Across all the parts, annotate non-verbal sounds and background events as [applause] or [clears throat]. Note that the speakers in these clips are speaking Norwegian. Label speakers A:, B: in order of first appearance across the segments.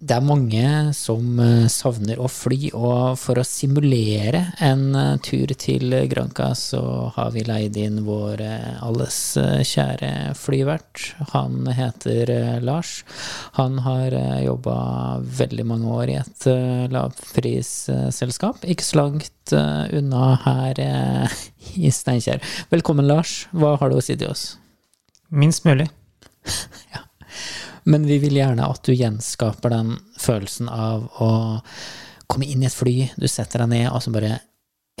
A: det er mange som eh, savner å fly, og for å simulere en eh, tur til Granca, så har vi leid inn vår eh, alles eh, kjære flyvert. Han heter eh, Lars. Han har jobba veldig mange år i et eh, lavprisselskap, ikke så langt eh, unna her eh, [laughs] i Steinkjer. Velkommen, Lars. Hva har du å si til oss?
B: Minst mulig.
A: Men vi vil gjerne at du gjenskaper den følelsen av å komme inn i et fly, du setter deg ned, og så bare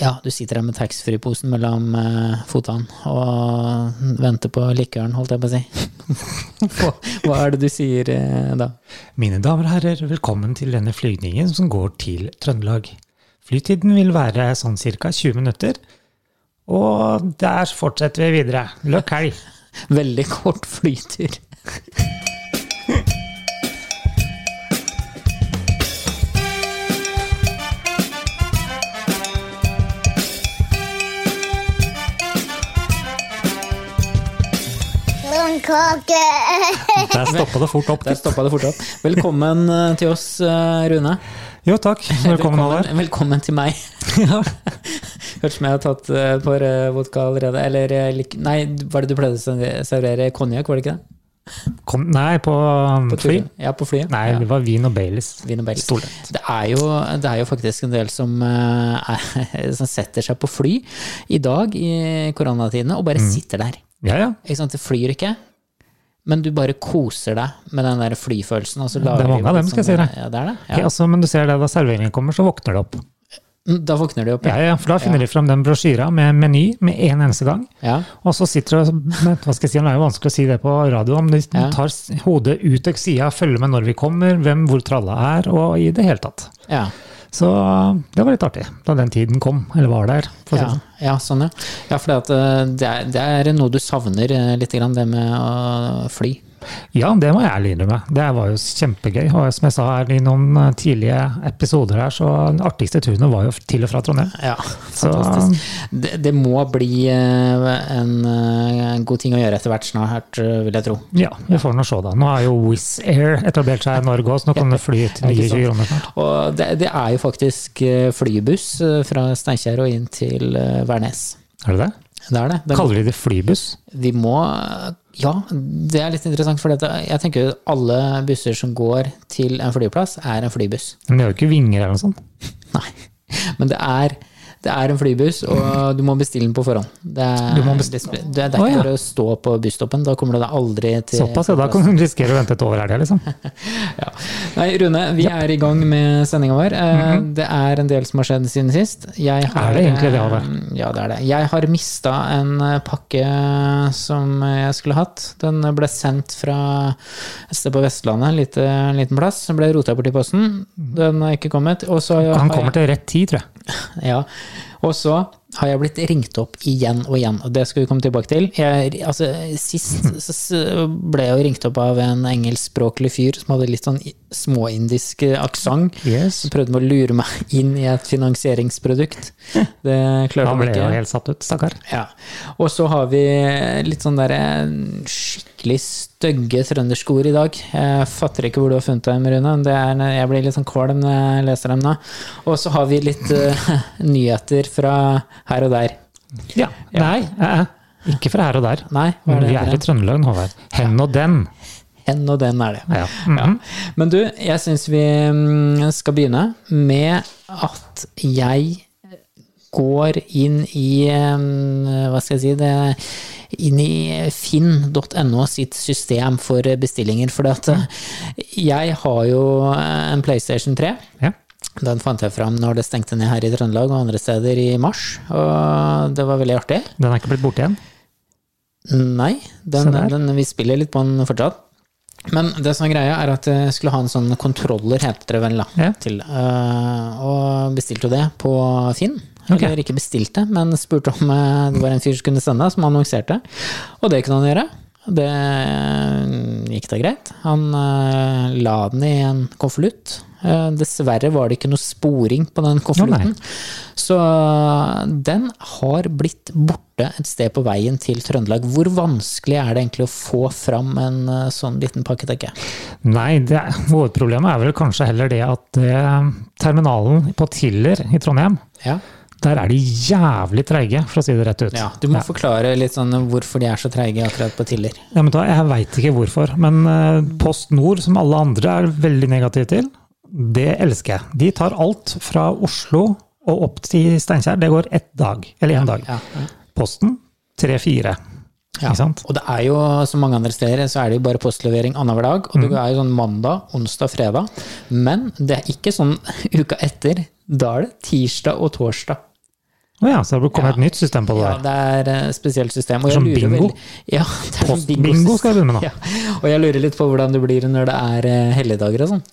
A: Ja, du sitter der med taxfree-posen mellom eh, fotene og venter på likøren, holdt jeg på å [laughs] si. hva, hva er det du sier eh, da?
B: Mine damer og herrer, velkommen til denne flygningen som går til Trøndelag. Flytiden vil være sånn ca. 20 minutter, og der fortsetter vi videre. Løkk helg!
A: Veldig kort flytur.
C: Blomkake.
B: [laughs] Der stoppa det fort opp.
A: Der stoppa det fort opp. Velkommen eh, til oss, eh, Rune.
B: Jo, takk. Velkommen, Håvard.
A: velkommen til meg.
B: [laughs] Ja.
A: Hørtes som jeg har tatt eh, et par eh, vodka allerede. Eller eh, lik- Nei, hva er det du pleide å servere- servere? Konjakk, var det ikke det?
B: Kom, nei, på,
A: På
B: fly?
A: turen? Ja, på flyet.
B: Nei,
A: ja.
B: det var vin og Baileys.
A: Vin og Baileys.
B: Stort.
A: Det er, jo, det er jo faktisk en del som, eh, er, [laughs] som setter seg på fly i dag i koronatidene og
B: Mm.
A: bare sitter der.
B: Ja, ja.
A: Ikke sant? Det flyr ikke, men du bare koser deg med den der flyfølelsen. Og så lager
B: Det er mange
A: jo
B: av
A: litt
B: dem, skal
A: sånn-
B: jeg si deg.
A: Ja, det er det.
B: Ja.
A: Ja.
B: altså, men du ser det, da serveringen kommer, så våkner det opp.
A: Mm, Da våkner de opp.
B: Ja,
A: Ja.
B: ja, for da finner de fram den brosjyra med meny med en eneste gang.
A: Ja.
B: Og så sitter du men Hva skal jeg si, det er jo vanskelig å si det på radio, men de
A: Ja.
B: tar s- hodet ut av sida, følger med når vi kommer, hvem hvor tralla er, og i det hele tatt.
A: Ja.
B: Så det var litt artig, da den tiden kom, eller var der. For å si
A: Ja,
B: det sånn.
A: ja, sånn ja. ja for det, er- det er noe du savner eh, litt, grann, det med å fly.
B: ja, det må jeg ærlig innrømme. Det var jo kjempegøy. Og som jeg sa her i noen eh, tidlige episoder her, så den artigste turene var jo til og fra Trondheim.
A: Ja,
B: Så-
A: fantastisk. Det, det må bli eh, en, eh, en god ting å gjøre etter hvert snart, eh, vil jeg tro.
B: Ja, vi får nå se, da. Nå har jo Wizz Air etablert seg i Norge også, så nå kan du fly til
A: Ja, ikke
B: 29
A: sant.
B: kroner snart.
A: Og det, det er jo faktisk eh, flybuss eh, fra Steinkjer og inn til eh, Værnes.
B: Er det det?
A: Det er det. Den,
B: Kaller de det flybuss?
A: vi må Ja, det er litt interessant, for dette. jeg tenker jo at alle busser som går til en flyplass, er en flybuss.
B: Men de har jo ikke vinger eller noe sånt.
A: Nei. Men det er, det er en flybuss, og du må bestille den på forhånd. Det er,
B: Du må best-
A: det, sp- det er ikke
B: Å, ja.
A: bare å stå på busstoppen, da kommer du deg aldri til
B: Såpass, ja. Da kan du risikere å vente et år, er det liksom.
A: Ja. Nei, Rune, vi er i gang med sendinga vår. Eh, Det er en del som har skjedd siden sist. Jeg har,
B: Mhm. Er det egentlig det, Ove?
A: eh, Ja, det er det. Jeg har mista en eh, pakke eh, som jeg skulle hatt. Den ble sendt fra et sted på Vestlandet, en lite, en liten plass. Den ble rota bort i posten. Den har ikke kommet. Og så har
B: Mhm. Han
A: jeg-
B: kommer til rett tid, tror jeg.
A: ja. Og så har jeg blitt ringt opp igjen og igjen, og det skal vi komme tilbake til. Jeg, altså, sist
B: [laughs]
A: så s- ble jeg jo ringt opp av en engelskspråklig fyr som hadde litt sånn i- småindisk eh, aksent.
B: Yes.
A: Som prøvde med å lure meg inn i et finansieringsprodukt. Det klarte
B: Han
A: han
B: ble jo
A: ikke.
B: helt satt ut, stakkar.
A: Ja. Og så har vi litt sånn derre skikkelig stygge trønderske ord i dag. Jeg fatter ikke hvor du har funnet dem, Rune. Det er, jeg blir litt sånn kvalm når jeg leser dem nå. Og så har vi litt eh, [laughs] nyheter fra her og der.
B: Ja. Nei, eh, eh. ikke fra her og der.
A: Nei, hva
B: Men
A: er det?
B: vi er i Trøndelag, nå, Håvard. Hen og den.
A: Hen og den er det.
B: Ja. Mhm.
A: Men du, jeg syns vi mm, skal begynne med at jeg går inn i mm, Hva skal jeg si det, Inn i finn.no sitt system for bestillinger. For at eh, jeg har jo en PlayStation 3.
B: ja.
A: Den fant jeg fram når det stengte ned her i Trøndelag og andre steder i mars. Og det var veldig artig.
B: Den er ikke blitt borte igjen?
A: Nei, den,
B: Se der.
A: den, vi spiller litt på den fortsatt. Men det som er greia, er at jeg skulle ha en sånn kontroller, heter det vel, da.
B: Ja.
A: Til, eh, og bestilte jo det på Finn.
B: Ok.
A: Eller ikke bestilte, men spurte om eh, det var en fyr som kunne sende, som annonserte. Og det kunne han gjøre. Det eh, gikk da greit. Han eh, la den i en konvolutt. Eh, Dessverre var det ikke noe sporing på den konvolutten. Så eh, den har blitt borte et sted på veien til Trøndelag. Hvor vanskelig er det egentlig å få fram en eh, sånn liten pakke, tenker jeg.
B: Nei, det, hovedproblemet er vel kanskje heller det at eh, terminalen på Tiller i Trondheim,
A: Ja.
B: der er de jævlig treige, for å si det rett ut.
A: du må forklare litt sånn hvorfor de er så treige akkurat på Tiller.
B: Ja, men da, jeg veit ikke hvorfor, men eh, Post Nord, som alle andre er veldig negative til, det elsker jeg. De tar alt fra Oslo og opp til Steinkjer. Det går ett dag, eller én dag.
A: Ja.
B: Posten tre-fire.
A: Ja.
B: Ikke sant?
A: Og det er jo, som mange andre steder, så er det jo bare postlevering annenhver dag. Og det er jo sånn mandag, onsdag, fredag. Men det er ikke sånn [laughs] uka etter. Da er det tirsdag og torsdag.
B: Å ja, så det kommer et nytt system på det
A: Ja,
B: der.
A: det er eh, spesielt system. Og
B: Som
A: jeg lurer
B: sånn bingo?
A: veldig- [laughs] Ja, det er sånn
B: Post- bingo skal jeg begynne med nå.
A: [laughs] Ja. Og jeg lurer litt på hvordan det blir når det er eh, helligdager og sånn.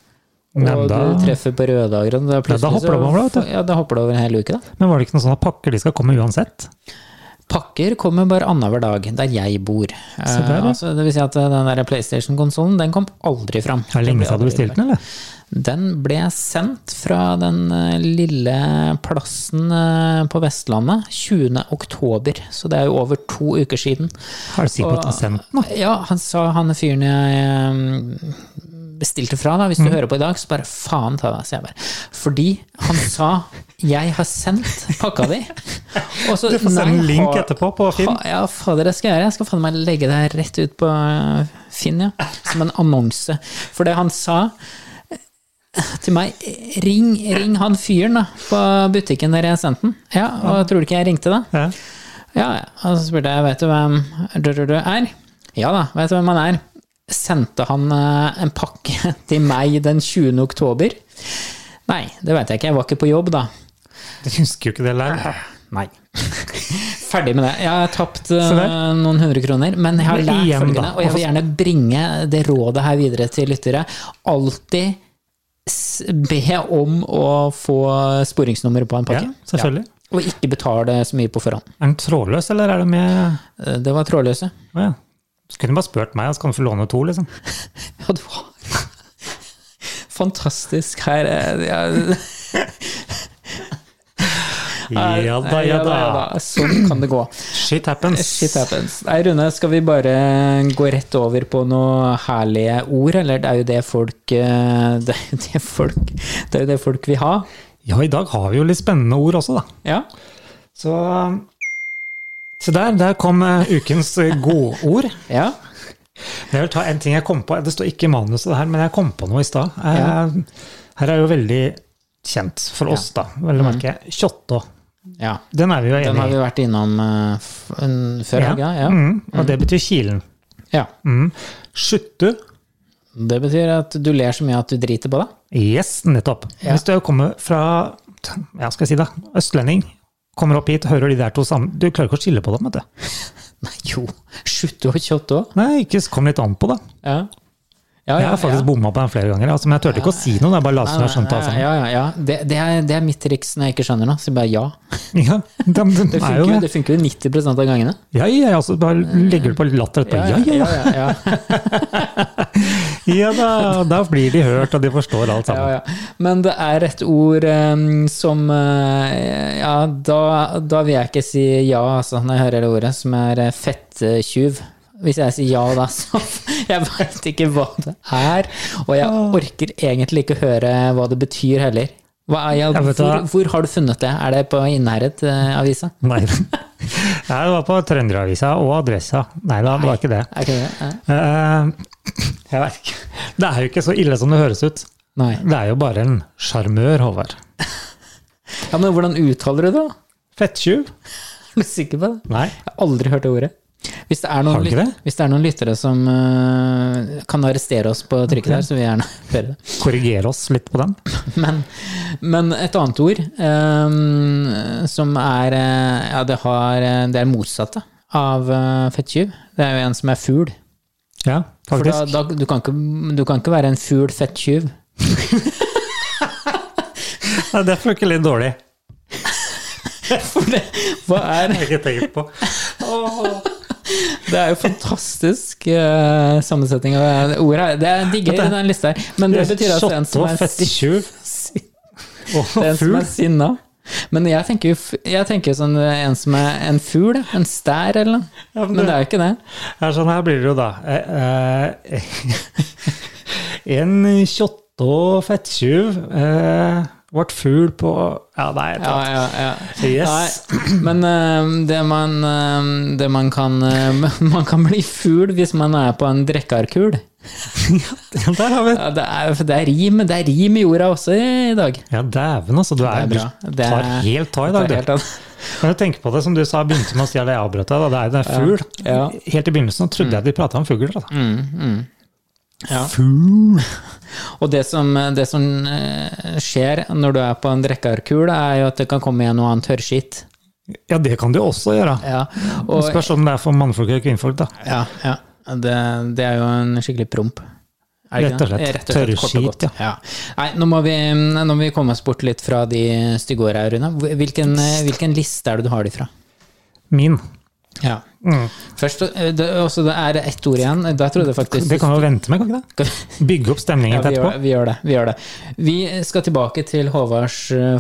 B: Nei,
A: Og
B: men da-
A: du treffer på røde dager. Og da, plutselig
B: da hopper
A: så-
B: det over, vet du.
A: Ja, da hopper det over en hel uke, da.
B: Men var det ikke noen sånne pakker de skal komme uansett?
A: Pakker kommer bare annenhver dag, der jeg bor. Eh,
B: Se der, ja.
A: altså, det vil si at eh, den der PlayStation-konsollen, den kom aldri fram.
B: Er det lenge siden du
A: ble aldri
B: bestilte den, eller?
A: Den ble sendt fra den eh, lille plassen eh, på Vestlandet 20. oktober, så det er jo over to uker siden.
B: Er du sikker på at du har sendt den? da?
A: Ja, han sa han fyren jeg eh, bestilte fra, da, hvis
B: Mm.
A: du hører på i dag, så bare faen ta deg, sier jeg bare. Fordi
B: [laughs]
A: han sa 'jeg har sendt pakka di'. Og så,
B: Du får sende
A: «Nei,
B: en link
A: har-
B: etterpå på Finn.
A: Fa- Ja, fader, det skal jeg gjøre. Jeg skal faen meg legge det her rett ut på eh, Finn, ja. Som en annonse. For det han sa eh, til meg Ring, ring han fyren da, på butikken der jeg sendte den. Ja, og tror du ikke jeg ringte, da?
B: Ja.
A: Ja, ja. Og så spurte jeg, vet du hvem Rødrød er? Ja da, vet du hvem han er? Sendte han eh, en pakke [laughs] til meg den 20. oktober? Nei, det vet jeg ikke, jeg var ikke på jobb da.
B: Du husker jo ikke det der.
A: Nei. [laughs] Ferdig med det. Jeg har tapt eh,
B: Se der.
A: noen hundre kroner, men jeg har
B: Men
A: lært
B: igjen,
A: følgende,
B: da.
A: og jeg vil gjerne bringe det rådet her videre til lyttere. Alltid s- be om å få sporingsnummeret på en
B: Ja,
A: pakke.
B: selvfølgelig.
A: Ja. Og ikke betale så mye på forhånd.
B: Er den trådløs, eller er det med
A: Eh, Det var trådløse.
B: Å ja. Så kunne du bare spurt meg, og så kan du få låne to, liksom.
A: Ja, du har Fantastisk. Her er ja.
B: Ja da, ja da.
A: Sånn kan det gå.
B: Shit happens.
A: Shit happens. Nei, Rune, skal vi bare gå rett over på noen herlige ord, eller det er jo det folk eh, Det er jo det folk, det er jo det folk vil ha.
B: Ja, i dag har vi jo litt spennende ord også, da.
A: Ja.
B: Så Se der, der kom eh, ukens eh, godord.
A: ja.
B: Jeg vil ta en ting jeg kom på. Det står ikke i manuset det her, men jeg kom på noe i stad. Eh, Her er jo veldig kjent for oss, da. Vel å merke. Kjotto.
A: ja.
B: Mm. Den er vi jo
A: Den har
B: enig i.
A: vi vært innom eh, f- en- før, ja. Ja, ja.
B: Mm, og det betyr kilen.
A: ja.
B: Mm. Skjuttu.
A: Det betyr at du ler så mye at du driter på det.
B: Yes, nettopp.
A: Ja.
B: Hvis du kommer fra ja, skal jeg si det, østlending, kommer opp hit og hører de der to sammen Du klarer ikke å skille på dem, vet du.
A: Nei, jo. Slutt å kjøtte òg.
B: Nei, ikke kom litt an på det.
A: Ja. Ja, Ah,
B: Jeg har faktisk bomma på den flere ganger, altså, men jeg turte ikke å si noe. Jeg bare la som jeg skjønte
A: eh,
B: altså.
A: ja, ja, ja. Det, det, er, det er mitt triks når jeg ikke skjønner noe. Så jeg bare ja.
B: [laughs] Ja, den, den
A: Det
B: er jo
A: funker jo, det funker jo 90 av gangene.
B: Ja, ja, ja, så bare legger du på latter etterpå. Ja, ja, ja.
A: ja, ja.
B: ja da, da blir de hørt, og de forstår alt
A: Ja,
B: sammen.
A: ja. Men det er et ord em, som eh, Ja, da, da vil jeg ikke si ja, altså, når jeg hører det ordet, som er eh, fetttjuv. Hvis jeg sier ja da, [laughs] så Jeg veit ikke hva det er, og jeg orker egentlig ikke høre hva det betyr heller. Hva er, ja,
B: Jeg vet
A: hvor,
B: det.
A: hvor har du funnet det? Er det på eh, Innherred-avisa?
B: Nei. [laughs] Nei, det var på Trønderavisa og Adressa. Nei da, det var ikke det.
A: Er ikke det? Eh,
B: Eh, jeg vet ikke. Det er jo ikke så ille som det høres ut.
A: Nei.
B: Det er jo bare en sjarmør, Håvard.
A: Ja, men hvordan uttaler du det? da? [laughs]
B: Fettjuv?
A: Er du sikker på det?
B: Nei.
A: Jeg har aldri hørt det ordet. Hvis det er noen,
B: Har du ikke
A: lyt- hvis det er noen lyttere som øh, kan arrestere oss på trykket der, så vil jeg gjerne [laughs] høre det.
B: Korriger oss litt på den.
A: Men, men et annet ord øhm, som er øh, Ja, det, har, øh, det er motsatte av øh, fetttyv. Det er jo en som er fugl.
B: Ja,
A: For da,
B: faktisk.
A: da, du, kan ikke, du kan ikke være en fugl fetttyv.
B: Nei, [laughs] det funker litt dårlig.
A: For det- Hva er
B: Jeg har ikke tenkt på. Åh.
A: Det er jo fantastisk eh, sammensetning av ord her. Det er digger i den lista her. Men det betyr altså en som er
B: fettetjuv [laughs] og
A: Det er en som
B: fugl.
A: er sinna. Men jeg tenker, jo f- jeg tenker sånn en som er en fugl, en stær eller noe.
B: Ja,
A: Men
B: men
A: det
B: det-
A: er jo ikke det.
B: Ja, sånn her blir det jo da. Eh, eh, [laughs] en kjotto og fettjuv eh, ble fugl på Ja, nei, jeg
A: Ja,
B: tar
A: ja, ja.
B: Yes. [laughs]
A: Nei, [clears throat] men eh, det man, eh, det man kan eh, [laughs] Man kan bli fugl hvis man er på en drekkarkul.
B: Der har vi
A: Ja, det, er, for det, er rim, det er rim i jorda også i, i dag.
B: Ja, dæven, altså. Du er,
A: Det er bra.
B: du
A: Det er-
B: tar helt ta i
A: Det
B: dag,
A: er
B: du.
A: helt annet.
B: Kan du tenke på det, som du sa, begynte med å si at jeg avbrøt deg. da, Det er jo det er fugl.
A: Ja. Mm.
B: Helt i begynnelsen trodde jeg de prata om fugler. Altså.
A: Ja.
B: Fugl!
A: [laughs] Og det som, det som eh, skjer når du er på en drekkarkul, er jo at det kan komme igjen noe annet tørrskitt.
B: Ja, det kan de også gjøre.
A: Ja,
B: Det
A: og,
B: Spørs om det er for mannfolk eller kvinnfolk, da.
A: ja, ja. Det, det er jo en skikkelig promp. Er det ikke
B: Rett og
A: det?
B: slett.
A: kort og
B: Tørrskit,
A: godt. ja. Nei, nå må, vi, nå må vi komme oss bort litt fra de stygge åra, Rune. Hvilken, eh, hvilken liste er det du har de fra?
B: Min.
A: Ja.
B: Mm.
A: Først, eh, det, også, det er ett ord igjen. Da trodde jeg faktisk
B: Det kan vi jo vente med, kan vi ikke det? Bygge opp stemningen
A: [laughs] Ja, vi, gjør
B: etterpå.
A: det, vi, gjør det, vi gjør det. Vi skal tilbake til Håvards eh,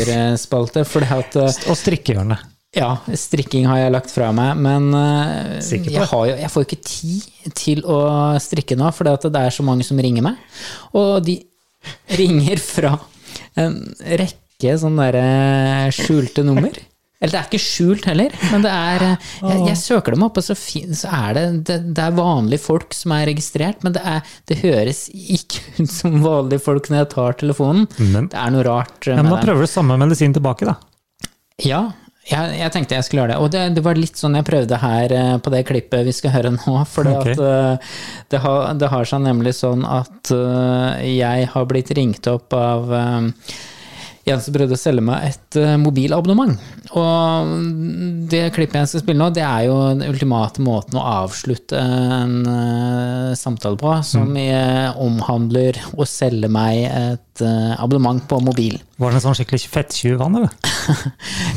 A: forbrukerspalte. For det at, eh,
B: Og strikkehjørnet.
A: ja, strikking har jeg lagt fra meg, men eh,
B: Sikker på
A: jeg,
B: det?
A: har jo, jeg får jo ikke tid til å strikke nå, for det at det er så mange som ringer meg. Og de ringer fra en rekke sånne derre skjulte nummer. Eller det er ikke skjult heller, men det er eh, Jeg, jeg søker dem opp, og så, fin, så er det, det Det er vanlige folk som er registrert, men det, er, det høres ikke [laughs] ut som vanlige folk når jeg tar telefonen.
B: Men,
A: Det er noe rart eh,
B: ja, men
A: med
B: da
A: dem.
B: prøver du samme medisin tilbake, da.
A: Ja, jeg, jeg tenkte jeg skulle gjøre det. Og det, det var litt sånn jeg prøvde her eh, på det klippet vi skal høre nå. [laughs] For det,
B: Ok.
A: at, eh, det, har, det har seg nemlig sånn at eh, jeg har blitt ringt opp av eh, en som prøvde å selge meg et eh, mobilabonnement. Og det klippet jeg skal spille nå, det er jo den ultimate måten å avslutte en eh, samtale på, som eh, omhandler å selge meg et eh, abonnement på mobil.
B: Var det en sånn skikkelig fettjuv, han, eller?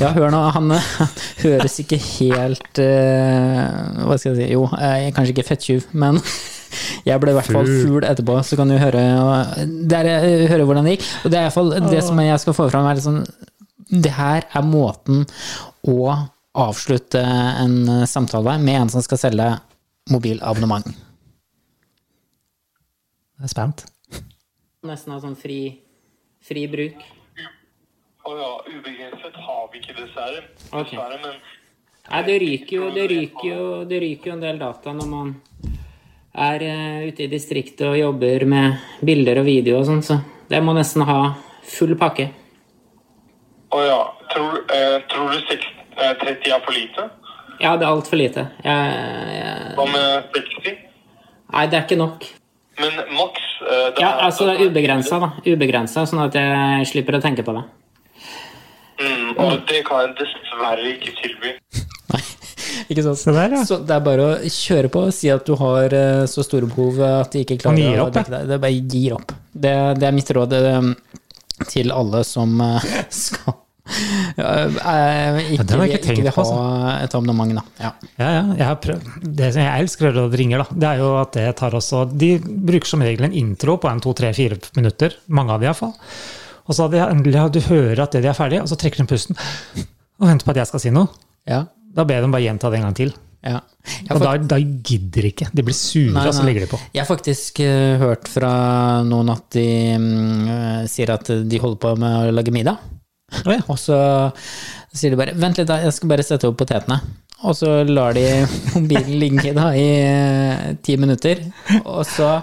A: Ja, hør nå, han [laughs] eh, høres ikke helt eh, Hva skal jeg si Jo, eh, kanskje ikke fetttjuv, men [laughs] jeg ble i hvert fall
B: Fugl.
A: fugl etterpå, så kan du høre, eh, der, eh, høre hvordan det gikk. Og det er i hvert fall det som jeg skal få fram, er liksom Det her er måten å avslutte en eh, samtale med en som skal selge mobilabonnement.
B: Jeg er spent.
A: Nesten av sånn fri, fri bruk.
C: Å ja, ubegrenset har vi ikke, dessverre.
A: Ok.
C: Dessverre, men
A: Nei, det ryker jo, det ryker jo, det ryker jo en del data når man er eh, ute i distriktet og jobber med bilder og video og sånn, så det må nesten ha full pakke.
C: Å ja. Tror, eh, tror du 6, eh, 30 er for lite?
A: Ja, det er altfor lite. Jeg, jeg,
C: Hva med 60?
A: nei, det er ikke nok.
C: Men maks eh, det
A: Ja, altså det er ubegrensa, da. Ubegrensa, sånn at jeg slipper å tenke på det.
C: Mm, og det kan jeg dessverre ikke tilby.
A: Ikke sant.
B: Se der, ja.
A: Så det er bare å kjøre på og si at du har eh, så store behov eh, at de ikke
B: Man
A: klarer
B: gir opp,
A: å dekke deg. Det er bare gir opp. Det, det er mitt råd eh, til alle som eh, [laughs] skal eh, eh,
B: Ja,
A: ikke,
B: den har jeg ikke
A: ikke vil
B: tenkt på, altså.
A: ha et abonnement, da. Ja.
B: Ja, ja. Jeg har prøvd. Det som jeg elsker å gjøre når det ringer, da, det er jo at det tar også De bruker som regel en intro på en to-tre-fire minutter. Mange av de iallfall. Og så hadde jeg endelig, du hører at det de er ferdige, og så trekker de pusten og venter på at jeg skal si noe.
A: Ja.
B: Da ber jeg dem bare gjenta det en gang til.
A: Ja. Jeg, har
B: Og da, da gidder de ikke. De blir sure,
A: Nei,
B: og så
A: nei.
B: legger de på.
A: fakt- jeg har faktisk eh, hørt fra noen at de mm, eh, sier at de holder på med å lage middag.
B: Å ja.
A: Og så sier de bare 'vent litt, da, jeg skal bare sette opp potetene'. Og så lar de mobilen ligge da i eh, ti minutter, og så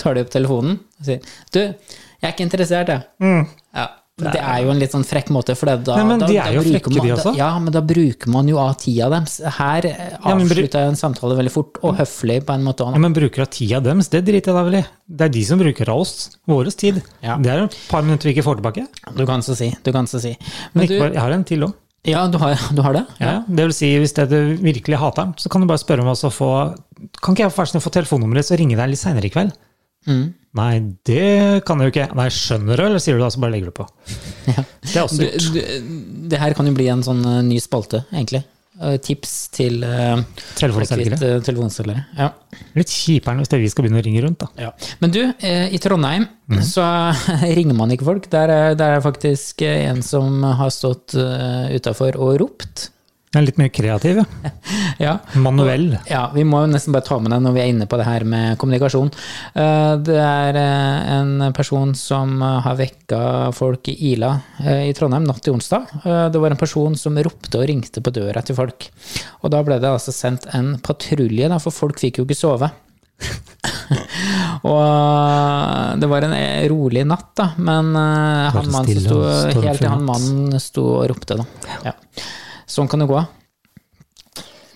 A: tar de opp telefonen og sier 'du, jeg er ikke interessert, jeg'. Ja. Det er jo en litt sånn frekk måte, for det- da,
B: Nei, Mm. men
A: da,
B: de
A: da
B: er jo
A: bruker
B: frekke,
A: man,
B: de
A: da-
B: også.
A: Ja, men da bruker man jo av tida deres. Her eh,
B: men bru-
A: avslutta jeg en samtale veldig fort, og høflig på en måte.
B: Ja, men bruker av tida deres, det driter jeg da vel i. Det er de som bruker av oss, vår tid.
A: Ja.
B: Det er et par minutter vi ikke får tilbake.
A: Du kan så si. Du kan så si.
B: Men
A: Men
B: ikke
A: du,
B: bare, jeg har en til òg.
A: ja, du har, du har det?
B: Ja. Det vil si, hvis det du virkelig hater den, så kan du bare spørre om å få Kan ikke jeg få, få telefonnummeret, så ringe deg litt seinere i kveld?
A: Mm.
B: Nei, det kan jeg jo ikke. Nei, skjønner du, eller sier du det, så bare legger du på. Det er også
A: Du,
B: gjort.
A: du, det her kan jo bli en sånn eh, ny spalte, egentlig. eh, tips til eh,
B: Telefonselgere.
A: folk litt, eh, telefonselgere. Ja.
B: Litt kjipere hvis det er vi skal begynne å ringe rundt, da.
A: Ja. Men du, eh, i Trondheim så [laughs] ringer man ikke folk. Der er, der er faktisk eh, en som har stått eh, utafor og ropt.
B: Den er litt mer kreativ, ja.
A: Ja.
B: Manuell.
A: Ja, vi må jo nesten bare ta med den når vi er inne på det her med kommunikasjon. Eh, Det er eh, en person som eh, har vekka folk i Ila eh, i Trondheim natt til onsdag. Eh, Det var en person som ropte og ringte på døra til folk. Og da ble det altså sendt en patrulje, da, for folk fikk jo ikke sove. [laughs] og det var en eh, rolig natt, da, men eh,
B: Var det
A: han mannen som
B: stille
A: sto,
B: og stormfull
A: helt til han
B: natt?
A: mannen sto og ropte, da. Ja. Sånn kan det gå.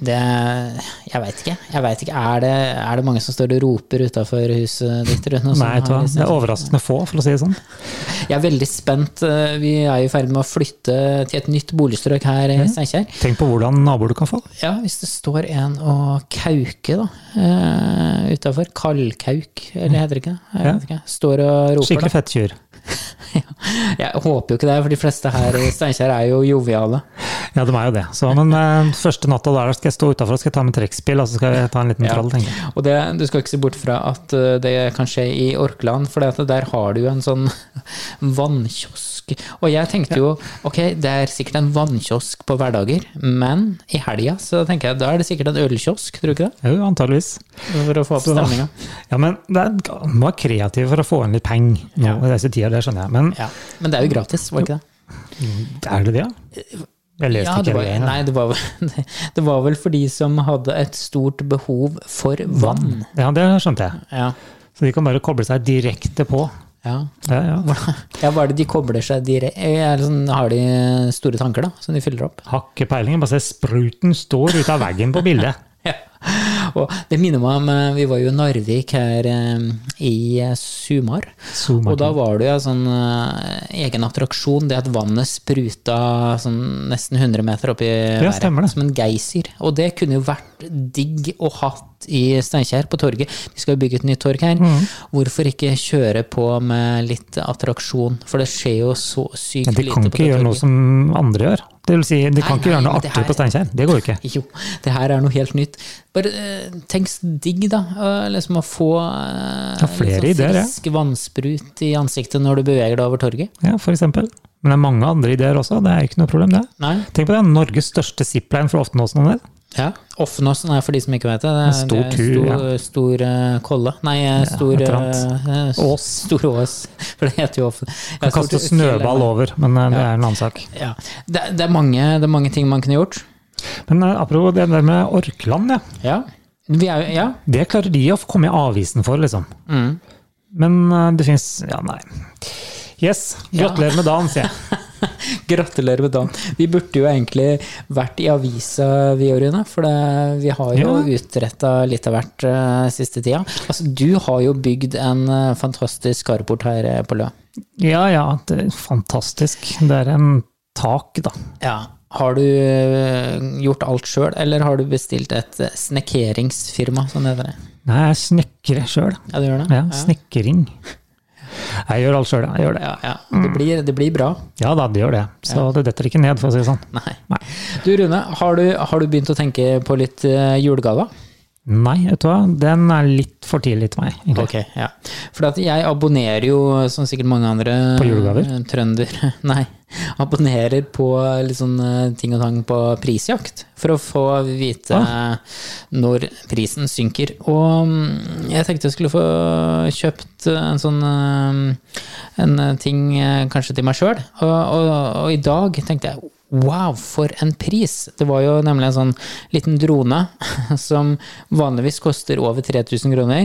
A: Det Jeg veit ikke. Jeg vet ikke. Er, det, er det mange som står og roper utafor huset ditt? Rune, og som
B: Nei, vet du hva.
A: har
B: Det er
A: liksom-
B: overraskende få, for å si det sånn.
A: Jeg er veldig spent. Eh, Vi er i ferd med å flytte til et nytt boligstrøk her i Steinkjer.
B: Tenk på hvordan naboer du kan få.
A: Ja, hvis det står en og kauker da, uh, utafor. Kaldkauk, eller heter det ikke det? Jeg
B: Ja.
A: vet ikke. Står og roper,
B: Skikkelig fettkyr.
A: da. Jeg håper jo ikke det, for de fleste her i Steinkjer er jo joviale.
B: Ja, de er jo det. Så, men eh, første natta der skal jeg stå utafor og skal jeg ta med trekkspill, og så skal jeg ta en liten
A: Ja.
B: trall, tenker jeg.
A: Og det, du skal ikke se bort fra at eh, det kan skje i Orkland, for det at der har du jo en sånn [laughs] vannkiosk. Og jeg tenkte jo ok, det er sikkert en vannkiosk på hverdager, men i helga så tenker jeg da er det sikkert en ølkiosk, tror du ikke det?
B: Jo, antageligvis.
A: For å få opp
B: Så-
A: stemninga.
B: Ja, men det er, må være kreativ for å få inn litt penger nå
A: Ja.
B: i disse tider, det skjønner jeg. Men
A: Ja. Men det er jo gratis, var det ikke det?
B: er det det? Jeg leste
A: Ja, det
B: ikke
A: var,
B: det. engang.
A: nei, det var, vel- [laughs] det var vel for de som hadde et stort behov for vann.
B: Ja, det skjønte jeg.
A: Ja.
B: Så de kan bare koble seg direkte på.
A: ja. [laughs]
B: Ja, ja.
A: Ja, hva er det de kobler seg direkte sånn, Har de store tanker, da, som de fyller opp?
B: Har ikke peiling, bare se spruten står ut av veggen på bildet.
A: Ja. Og det minner meg om eh, Vi var jo i Narvik her eh, i eh, Sumar.
B: Zoomer
A: Og da
B: til.
A: var det jo en sånn eh, egen attraksjon, det at vannet spruta sånn nesten 100 meter opp i
B: Ja, stemmer det.
A: Som en geysir. Og det kunne jo vært digg å hatt i Steinkjer, på torget. Vi skal jo bygge et nytt torg her.
B: Mm.
A: Hvorfor ikke kjøre på med litt attraksjon? For det skjer jo så sykt
B: Men de
A: lite
B: kan
A: på
B: ikke
A: det
B: gjøre noe
A: torget.
B: som andre gjør. Det vil si, de kan
A: Nei,
B: ikke
A: nei,
B: gjøre noe
A: men det
B: artig
A: her-
B: på Steinkjer. Det går jo ikke.
A: [laughs] Jo, det her er noe helt nytt. Bare eh, tenk så digg, da. eh, liksom å få eh,
B: Ja, flere
A: litt
B: ideer, ja.
A: frisk vannsprut i ansiktet når du beveger deg over torget.
B: Ja, for eksempel. Men det er mange andre ideer også, det er ikke noe problem det.
A: Nei?
B: Tenk på det, Norges største zipline for Oftenåsen og sånn der.
A: Ja. Offenåsen er for de som ikke vet det. det er,
B: En stor
A: det er
B: tur,
A: stor, stor eh, kolle. Nei, eh, stor
B: et eller annet.
A: eh, eh,
B: Ås.
A: Stor ås. [laughs] For det heter jo Offen.
B: Kan kaste snøball over, men eh, det er en annen sak.
A: Ja. Det, det, er mange, det er mange ting man kunne gjort.
B: Men eh, apropos det der med Orkland, ja.
A: Ja. Vi er, jo- ja.
B: Det klarer de å komme i avisen for, liksom. Men eh, det fins Ja, nei. Yes, gratulerer med dagen, sier jeg.
A: Gratulerer med dagen. Vi burde jo egentlig vært i avisa, vi Jørgen. For det, vi har jo
B: Ja.
A: utretta litt av hvert eh, siste tida. Altså, du har jo bygd en eh, fantastisk carport her eh, på Lø.
B: [laughs] Ja ja, det er fantastisk. Det er en tak, da.
A: Ja. Har du eh, gjort alt sjøl, eller har du bestilt et eh, snekkeringsfirma, som det heter? det?
B: Nei, jeg snekrer sjøl.
A: Ja, du gjør det?
B: Ja, snekkering. Jeg gjør alt sjøl, jeg gjør det.
A: Ja, ja.
B: Mm.
A: Det, blir, det blir bra.
B: Ja da, det gjør det. Så det detter ikke ned, for å si det sånn.
A: Nei.
B: Nei.
A: Du Rune, har du, har du begynt å tenke på litt eh, julegaver?
B: Nei, vet du hva, den er litt for tidlig til meg. egentlig.
A: Ok, ja. For at jeg abonnerer jo, som sikkert mange andre
B: På julegaver?
A: eh, Trønder. [laughs] Nei. Abonnerer på litt sånn eh, ting og tang på prisjakt, for å få vite
B: Ah.
A: eh, når prisen synker. Og mm, jeg tenkte jeg skulle få kjøpt eh, en sånn eh, en eh, ting eh, kanskje til meg sjøl. Og, og, og i dag tenkte jeg Wow, for en pris! Det var jo nemlig en sånn liten drone [laughs] som vanligvis koster over 3000 kroner,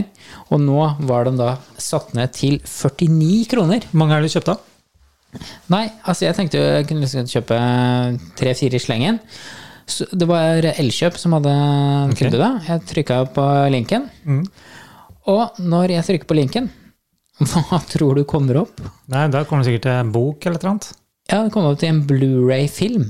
A: og nå var den da satt ned til 49 kroner.
B: Hvor mange er det du kjøpte? av?
A: Nei, altså jeg tenkte jo jeg kunne liksom kjøpe tre-fire i slengen. Så det var Elkjøp som hadde tilbudet. Jeg trykka på linken.
B: Mm.
A: Og når jeg trykker på linken, [laughs] hva tror du kommer opp?
B: Nei, Da kommer det sikkert en bok eller et eller annet.
A: Ja, det kom opp til en Blu-ray-film.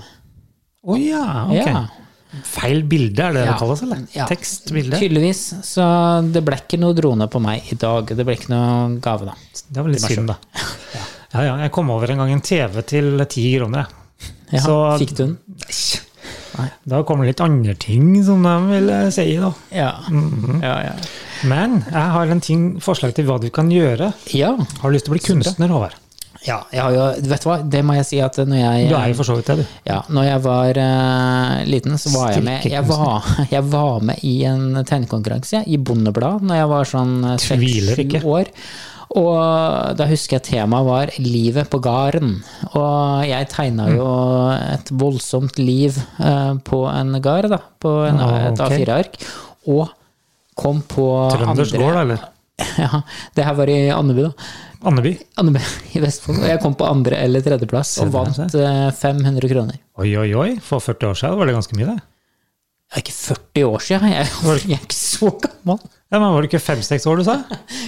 B: Å ja, ok.
A: Ja.
B: Feil bilde, er det
A: Ja.
B: det kalles, eller?
A: Ja.
B: Tekst, bilde.
A: Tydeligvis. Så det ble ikke noe drone på meg i dag. Det ble ikke noe gave, da.
B: Det var litt synd, da. Ja, ja, jeg kom over en gang en TV til ti kroner. jeg.
A: Ja,
B: Så-
A: Fikk du den?
B: Nei,
A: Nei.
B: Da kommer det litt andre ting som de vil eh, si, da.
A: Ja.
B: Mhm.
A: ja, ja.
B: Men jeg har en ting, forslag til hva du kan gjøre.
A: Ja.
B: Har du lyst til å bli kunstner, Håvard?
A: ja jeg har jo, vet du hva, det må jeg si at når jeg
B: Du er jo for så vidt det, du.
A: Ja, når jeg var eh, liten, så var jeg med Jeg var, [laughs] jeg var med i en tegnekonkurranse jeg, i Bondebladet når jeg var sånn
B: Tviler ikke.
A: seks-sju år. Og da husker jeg temaet var 'livet på gården'. Og jeg tegna jo
B: Mm.
A: et voldsomt liv eh, på en gard, da. På en,
B: Ah,
A: et
B: ok.
A: A4-ark. Og kom på
B: Trønders
A: andre-
B: gård, eller?
A: [laughs] Ja, det her var i Andebu, da.
B: Andeby?
A: Andebu [laughs] i Vestfold. Og jeg kom på andre- eller tredjeplass og
B: Se der,
A: vant eh, 500 kroner.
B: Oi, oi, oi. For 40 år siden var det ganske mye, det.
A: Det er ikke 40 år siden, jeg, [laughs] jeg er ikke så gammel.
B: Ja, men Var du ikke 5-6 år, du sa?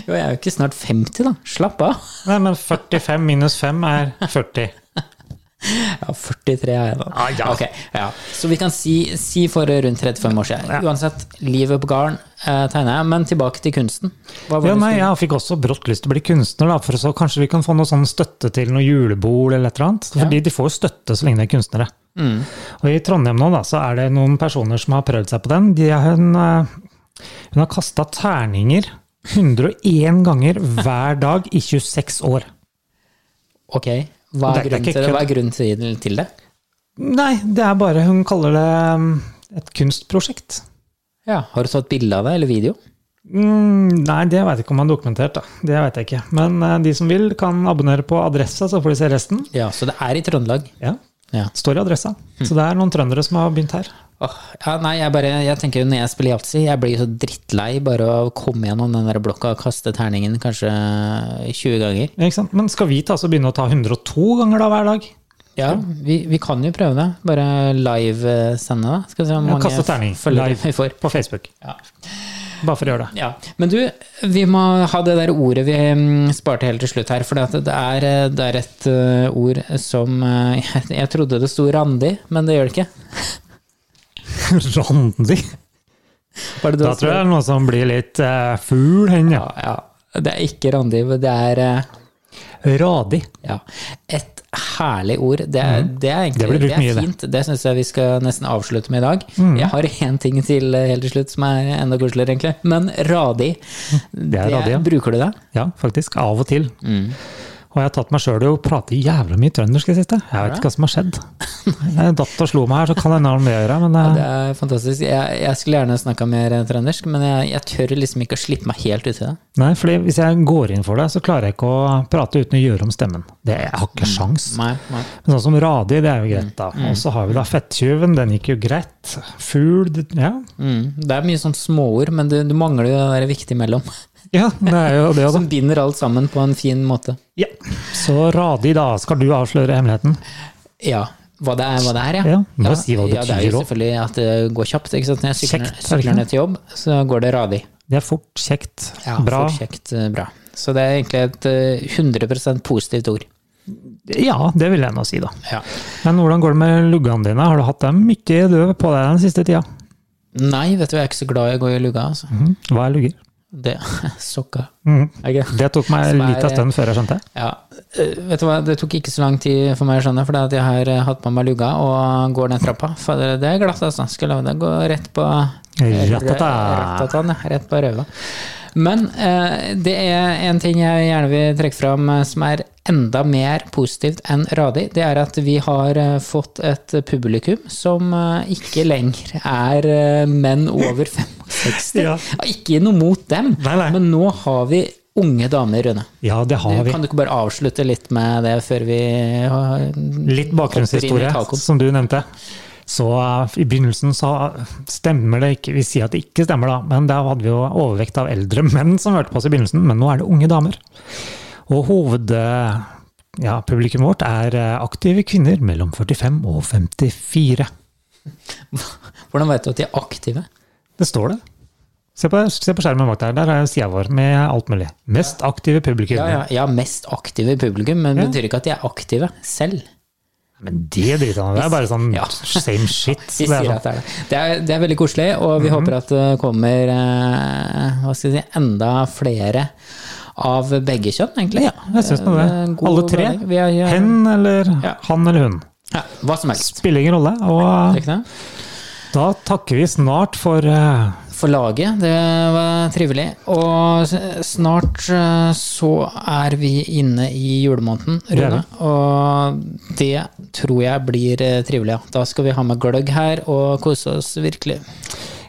A: Jo, jeg er jo ikke snart 50, da. Slapp av.
B: Nei, men 45 minus 5 er 40.
A: Ja, 43 er jeg da.
B: Ah, ja.
A: Ok, ja. Så vi kan si, si for rundt 35 år siden. Uansett, livet på garden eh, tegner jeg, men tilbake til kunsten. Hva var det
B: Ja,
A: du
B: nei,
A: skulle-
B: Jeg fikk også brått lyst til å bli kunstner, da, for så kanskje vi kan få noe sånn støtte til noe julebord eller et eller annet. Fordi de får jo støtte så lenge de er kunstnere. Og I Trondheim nå da, så er det noen personer som har prøvd seg på den. De har, hun, eh, hun har kasta terninger 101 ganger hver dag i 26 år.
A: Ok, hva er,
B: Det er
A: grunnen
B: ikke
A: til det?
B: kødd.
A: Hva er grunnen til, til det?
B: Nei, det er bare Hun kaller det mm, et kunstprosjekt.
A: Ja, Har du tatt bilde av det, eller video?
B: Mm, nei, det veit jeg ikke om han har dokumentert. da. Det vet jeg ikke. Men eh, de som vil, kan abonnere på adressa, så får de se resten.
A: Ja, så det er i Trøndelag.
B: Ja,
A: Ja.
B: Står i adressa. Så det er noen trøndere som har begynt her.
A: Åh, ja, nei, jeg bare, jeg tenker jo når jeg spiller yatzy, jeg blir jo så drittlei bare av å komme gjennom den der blokka og kaste terningen kanskje 20 ganger.
B: Ja, Ikke sant? Men skal vi ta, så begynne å ta 102 ganger da hver dag?
A: Ja, vi, vi kan jo prøve det. Bare livesende, da. Skal vi se hvor
B: Ja,
A: mange
B: kaste terning.
A: følgere
B: Live.
A: vi får.
B: På Facebook.
A: Ja.
B: Bare for å gjøre [laughs] det.
A: Ja. Men du, vi må ha det der ordet vi mm, sparte helt til slutt her. For det er, eh, det er et eh, ord som eh, [laughs] jeg, jeg trodde det sto Randi, men det gjør det ikke.
B: Randi!
A: Var det det
B: Da
A: det
B: tror jeg det er noen som blir litt eh, fugl, hen, ja.
A: sto? ja, ja. Det er ikke Randi, men det er eh,
B: Radig.
A: Ja. Et herlig ord. Det er, det er egentlig
B: Mm. Det blir brukt
A: det er
B: mye, det. Mm.
A: fint. Det, syns jeg vi skal nesten avslutte med i dag. Jeg har én ting til eh, helt til slutt som er enda koseligere, egentlig. Men radig.
B: Mm. Det er radig, ja.
A: Bruker du det?
B: Ja, faktisk. Av og til.
A: Mm.
B: Og jeg har tatt meg sjøl i å prate jævla mye trøndersk i det siste. Jeg vet ikke hva som har [laughs] skjedd. Jeg datt og slo meg her, så kan det hende om det å gjøre, men eh,
A: Det er fantastisk. Jeg, jeg skulle gjerne snakka mer eh, trøndersk, men jeg, jeg tør liksom ikke å slippe meg helt uti det.
B: nei, fordi hvis jeg går inn for det, så klarer jeg ikke å prate uten å gjøre om stemmen. Det jeg har ikke sjans.
A: Nei, nei.
B: Men sånn som radi, det er jo
A: Mm.
B: greit, da. Og så har vi da fettyven, den gikk jo greit. Fugl, det- ja.
A: Mm. Det er mye sånn småord, men du, du mangler jo det der viktige mellom. [laughs]
B: Ja, det er jo det, da.
A: Som binder alt sammen på en fin måte.
B: Ja. Så radi, da. Skal du avsløre hemmeligheten?
A: Ja. Hva det er, hva det er, ja.
B: Ja, må si hva det
A: ja, det er
B: betyr
A: jo
B: også.
A: selvfølgelig at det går kjapt. Ikke sant? Når jeg sykler,
B: Kjekt, er det ikke
A: sykler ned til jobb, så går det radig.
B: Det er fort, kjekt,
A: Ja,
B: bra.
A: fort, kjekt, eh, bra. Så det er egentlig et eh, 100 positivt ord.
B: Ja, det vil jeg nå si, da.
A: Ja.
B: Men hvordan går det med luggene dine? Har du hatt dem mye døve på deg den siste tida?
A: Nei, vet du, jeg er ikke så glad i å gå i lugga, altså.
B: Mhm. Hva er lugger?
A: Det, [laughs] sokka.
B: Mhm.
A: Er ikke det?
B: Det tok meg
A: Som er-
B: litt av stund før jeg skjønte.
A: Ja. eh, Vet du hva, det tok ikke så lang tid for meg å skjønne, for det at jeg har eh, hatt på meg lugga og går ned trappa. Fader, det er glatt, altså. Skal love deg. Gå rett på
B: Ratata.
A: Ratatan, ja. Rett på røva. Men eh, det er en ting jeg gjerne vil trekke fram eh, som er enda mer positivt enn radig. Det er at vi har eh, fått et publikum som eh, ikke lenger er eh, menn over 65.
B: [laughs] Ja.
A: Ikke noe mot dem,
B: Nei, nei.
A: men nå har vi unge damer, Rune.
B: Ja, det har vi.
A: Kan du ikke bare avslutte litt med det før vi har
B: Litt bakgrunnshistorie,
A: hopper inn i tacoen?
B: som du nevnte. Så eh, i begynnelsen så stemmer det ikke, vi sier at det ikke stemmer da, men da hadde vi jo overvekt av eldre [laughs] menn som hørte på oss i begynnelsen, men nå er det unge damer. Og hovedpublikummet ja, publikummet vårt er eh, aktive kvinner mellom 45 og 54.
A: Hvordan vet du at de er aktive?
B: Det står det. Se på, se på skjermen bak der, der er sida vår med alt mulig. Mest aktive publikum.
A: Ja, ja, ja, mest aktive i publikum, men det
B: Ja.
A: betyr ikke at de er aktive selv.
B: Men det driter han i, det er bare sånn
A: Ja.
B: same shit.
A: Vi
B: Det er
A: sier
B: Mhm. sånn.
A: at det er det. Det er, det er veldig koselig, og vi håper at det kommer eh, hva skal jeg si, enda flere av begge kjønn, egentlig.
B: Jeg syns nå det.
A: Eh, god
B: Alle tre.
A: blanding. Vi er,
B: Hen eller
A: Ja.
B: han eller hun.
A: Ja, hva som helst.
B: Spiller ingen rolle.
A: Er
B: Og
A: det ikke det?
B: da takker vi snart for eh,
A: For laget, det var trivelig. Og s- snart eh, så er vi inne i julemåneden,
B: Det er
A: Rune. Og det tror jeg blir eh, trivelig. ja. Da skal vi ha med gløgg her og kose oss virkelig.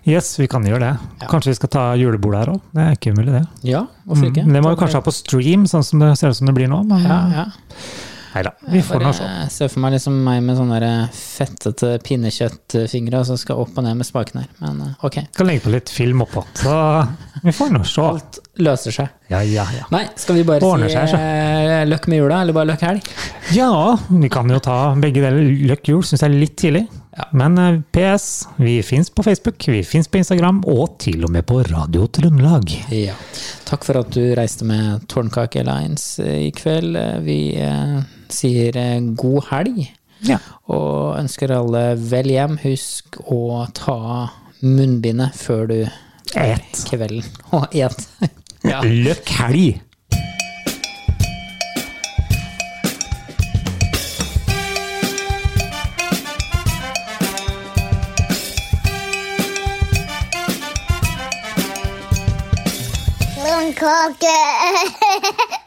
B: Yes, vi kan gjøre det. Kanskje vi skal ta julebord her òg? Det er ikke umulig, det.
A: Ja, hvorfor ikke?
B: Mm, Det må vi kanskje ha på stream, sånn som det ser ut som det blir nå. Men
A: Ja, ja.
B: neida, vi får sånn. nå se.
A: Bare se for meg liksom meg med sånne der fettete pinnekjøttfingre som skal opp og ned med spaken her. Men eh, ok,
B: Skal legge på litt film oppå. Så vi får nå se.
A: løser seg.
B: Ja, ja, ja.
A: Nei, skal vi bare
B: Ordner
A: si
B: seg, altså. så.
A: eh, løkk med jula, eller bare løkk helg?
B: ja, vi kan jo ta begge deler. Løkk jul syns jeg er litt tidlig. Men eh, PS, vi fins på Facebook, vi fins på Instagram, og til og med på Radio Trøndelag.
A: Ja. Takk for at du reiste med Tårnkake Lines eh, i kveld. Eh, Vi eh, sier eh, god helg,
B: Ja.
A: og ønsker alle vel hjem. Husk å ta munnbindet før du
B: Et.
A: kvelden [laughs] og et. Ja.
B: Løkk helg!
D: Little clock.